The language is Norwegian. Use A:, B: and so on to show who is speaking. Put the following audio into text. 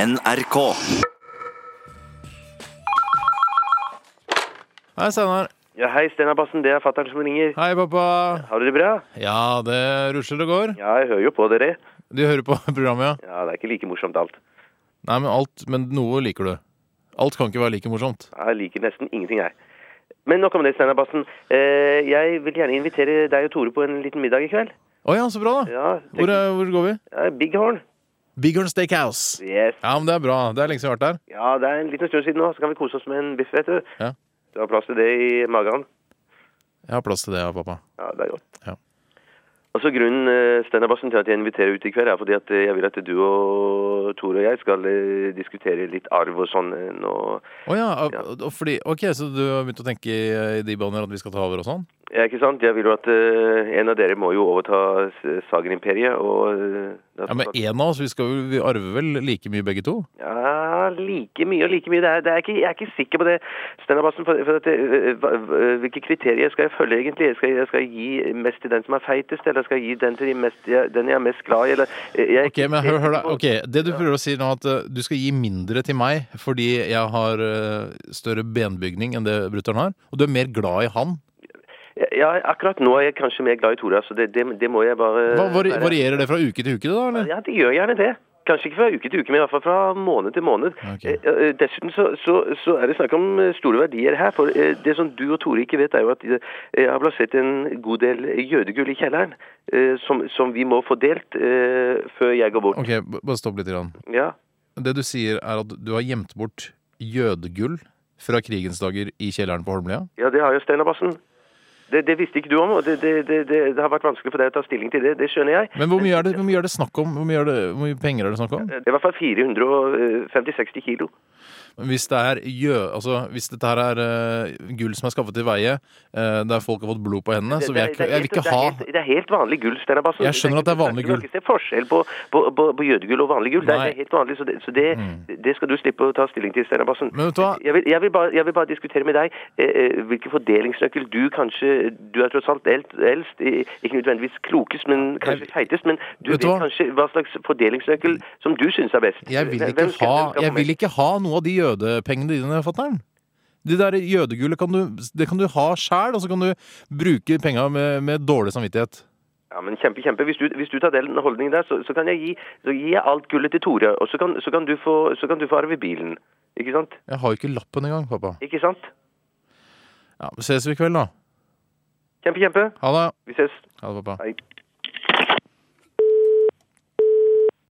A: NRK.
B: Hei, Steinar.
C: Ja, hei, Steinar Bassen. Det er fatter'n som ringer.
B: Hei, pappa.
C: Har du det bra?
B: Ja, det rusler og går.
C: Ja, jeg hører jo på dere.
B: Du hører på programmet, ja.
C: Ja, Det er ikke like morsomt alt.
B: Nei, men alt, men noe liker du. Alt kan ikke være like morsomt.
C: Jeg liker nesten ingenting, jeg. Men nok om det, Steinar Bassen. Eh, jeg vil gjerne invitere deg og Tore på en liten middag i kveld.
B: Å ja, så bra, da.
C: Ja, tenk-
B: Hvor, er- hvor går vi?
C: ja Bighorn.
B: Bighorn Steakhouse.
C: Yes.
B: Ja, men det er bra. Det er lenge siden jeg har vært der.
C: Ja, det er en liten stund siden nå, så kan vi kose oss med en biff, vet du.
B: Ja.
C: Du har plass til det i magen.
B: Jeg har plass til det, ja, pappa.
C: Ja, det er godt.
B: Ja.
C: Altså Grunnen eh, Steinar Bassen, til at jeg inviterer ut i kveld, er fordi at eh, jeg vil at du og Tore og jeg skal eh, diskutere litt arv og sånn eh, nå.
B: Å ja, og- og fordi, ok, så du har begynt å tenke i i de baner at vi skal ta over og sånn?
C: Ja, ikke sant? Jeg vil jo at eh, en av dere må jo overta s- sagerimperiet, og eh, da-
B: Ja, Men én av oss, vi, skal, vel- vi arver vel like mye begge to?
C: Ja, like mye og like mye. Det er, det er ikke, jeg er ikke sikker på det, Steinar Bassen. For, for at, eh, hva- hva- hvilke kriterier skal jeg følge, egentlig? Skal jeg, skal jeg gi mest til den som er feitest, eller skal jeg gi den til de mest, jeg, den jeg er mest glad i? Eller, eh, jeg er
B: Ok,
C: ikke
B: men hør,
C: helt
B: hør da.
C: sikker på-
B: Ok, det du prøver å si nå, at eh, du skal gi mindre til meg fordi jeg har eh, større benbygning enn det brutter'n har, og du er mer glad i han.
C: Ja, akkurat nå er jeg kanskje mer glad i Tora, så det, det, det må jeg bare
B: Hva, vari,
C: være-
B: varierer det fra uke til uke, da? eller?
C: Ja, det gjør gjerne det. Kanskje ikke fra uke til uke, men i hvert fall fra måned til måned.
B: Ok.
C: Eh, eh, Dessuten så, så, så er det snakk om eh, store verdier her. For eh, det som du og Tore ikke vet, er jo at eh, jeg har plassert en god del jødegull i kjelleren. eh, Som, som vi må få delt eh, før jeg går bort.
B: Ok, b- bare stopp litt. Grann.
C: Ja.
B: Det du sier, er at du har gjemt bort jødegull fra krigens dager i kjelleren på Holmlia?
C: ja, det har jo Steinar Bassen. Det, det visste ikke du om, og det, det, det, det, det har vært vanskelig for deg å ta stilling til det. Det skjønner jeg.
B: Men hvor mye er det, hvor mye er det snakk om? Hvor mye, er det, hvor mye penger er det snakk om?
C: Det er i hvert fall 450-60 eh, kilo.
B: Hvis det er jø... Altså, hvis dette her er eh, gull som er skaffet til veie, eh, der folk har fått blod på hendene, så vil jeg Altså, ikke, jeg vil ikke ha
C: det, er helt, det er helt vanlig gull, Steinar Bassen.
B: Jeg skjønner at det er vanlig gull.
C: Du kan ikke se forskjell på, på, på, på jødegull og vanlig gull. Det er,
B: Nei.
C: det
B: Mm.
C: er helt vanlig, så, det, så det, det skal du slippe å ta stilling til, Steinar Bassen.
B: Men vet du hva?
C: Jeg vil, jeg, vil bare, jeg vil bare diskutere med deg eh, eh, hvilken fordelingsnøkkel du kanskje Du er tross alt eld, eldst, eh, ikke nødvendigvis klokest, men kanskje feitest, men du
B: Vet
C: vet,
B: du hva?
C: kanskje hva slags fordelingsnøkkel som du syns er best.
B: Jeg vil
C: Hvem-
B: ikke
C: hvem skal-
B: ha,
C: hvem skal få
B: jeg vil
C: mest?
B: ikke ha noe av de jødepengene dine, fatter'n. Det der jødegullet kan du, det kan du ha sjæl, og så kan du bruke penga med, med dårlig samvittighet.
C: Ja, men kjempe, kjempe. Hvis du, hvis du tar den holdningen der, så, så kan jeg gi, så gir jeg alt gullet til Tore, og så kan, så kan, du, få, så kan du få arve bilen. Ikke sant?
B: Jeg har jo ikke lappen engang, pappa.
C: Ikke sant?
B: Ja, men ses vi i kveld, da.
C: Kjempe, kjempe.
B: Ha det.
C: Vi ses.
B: Ha det, pappa.
C: Hei.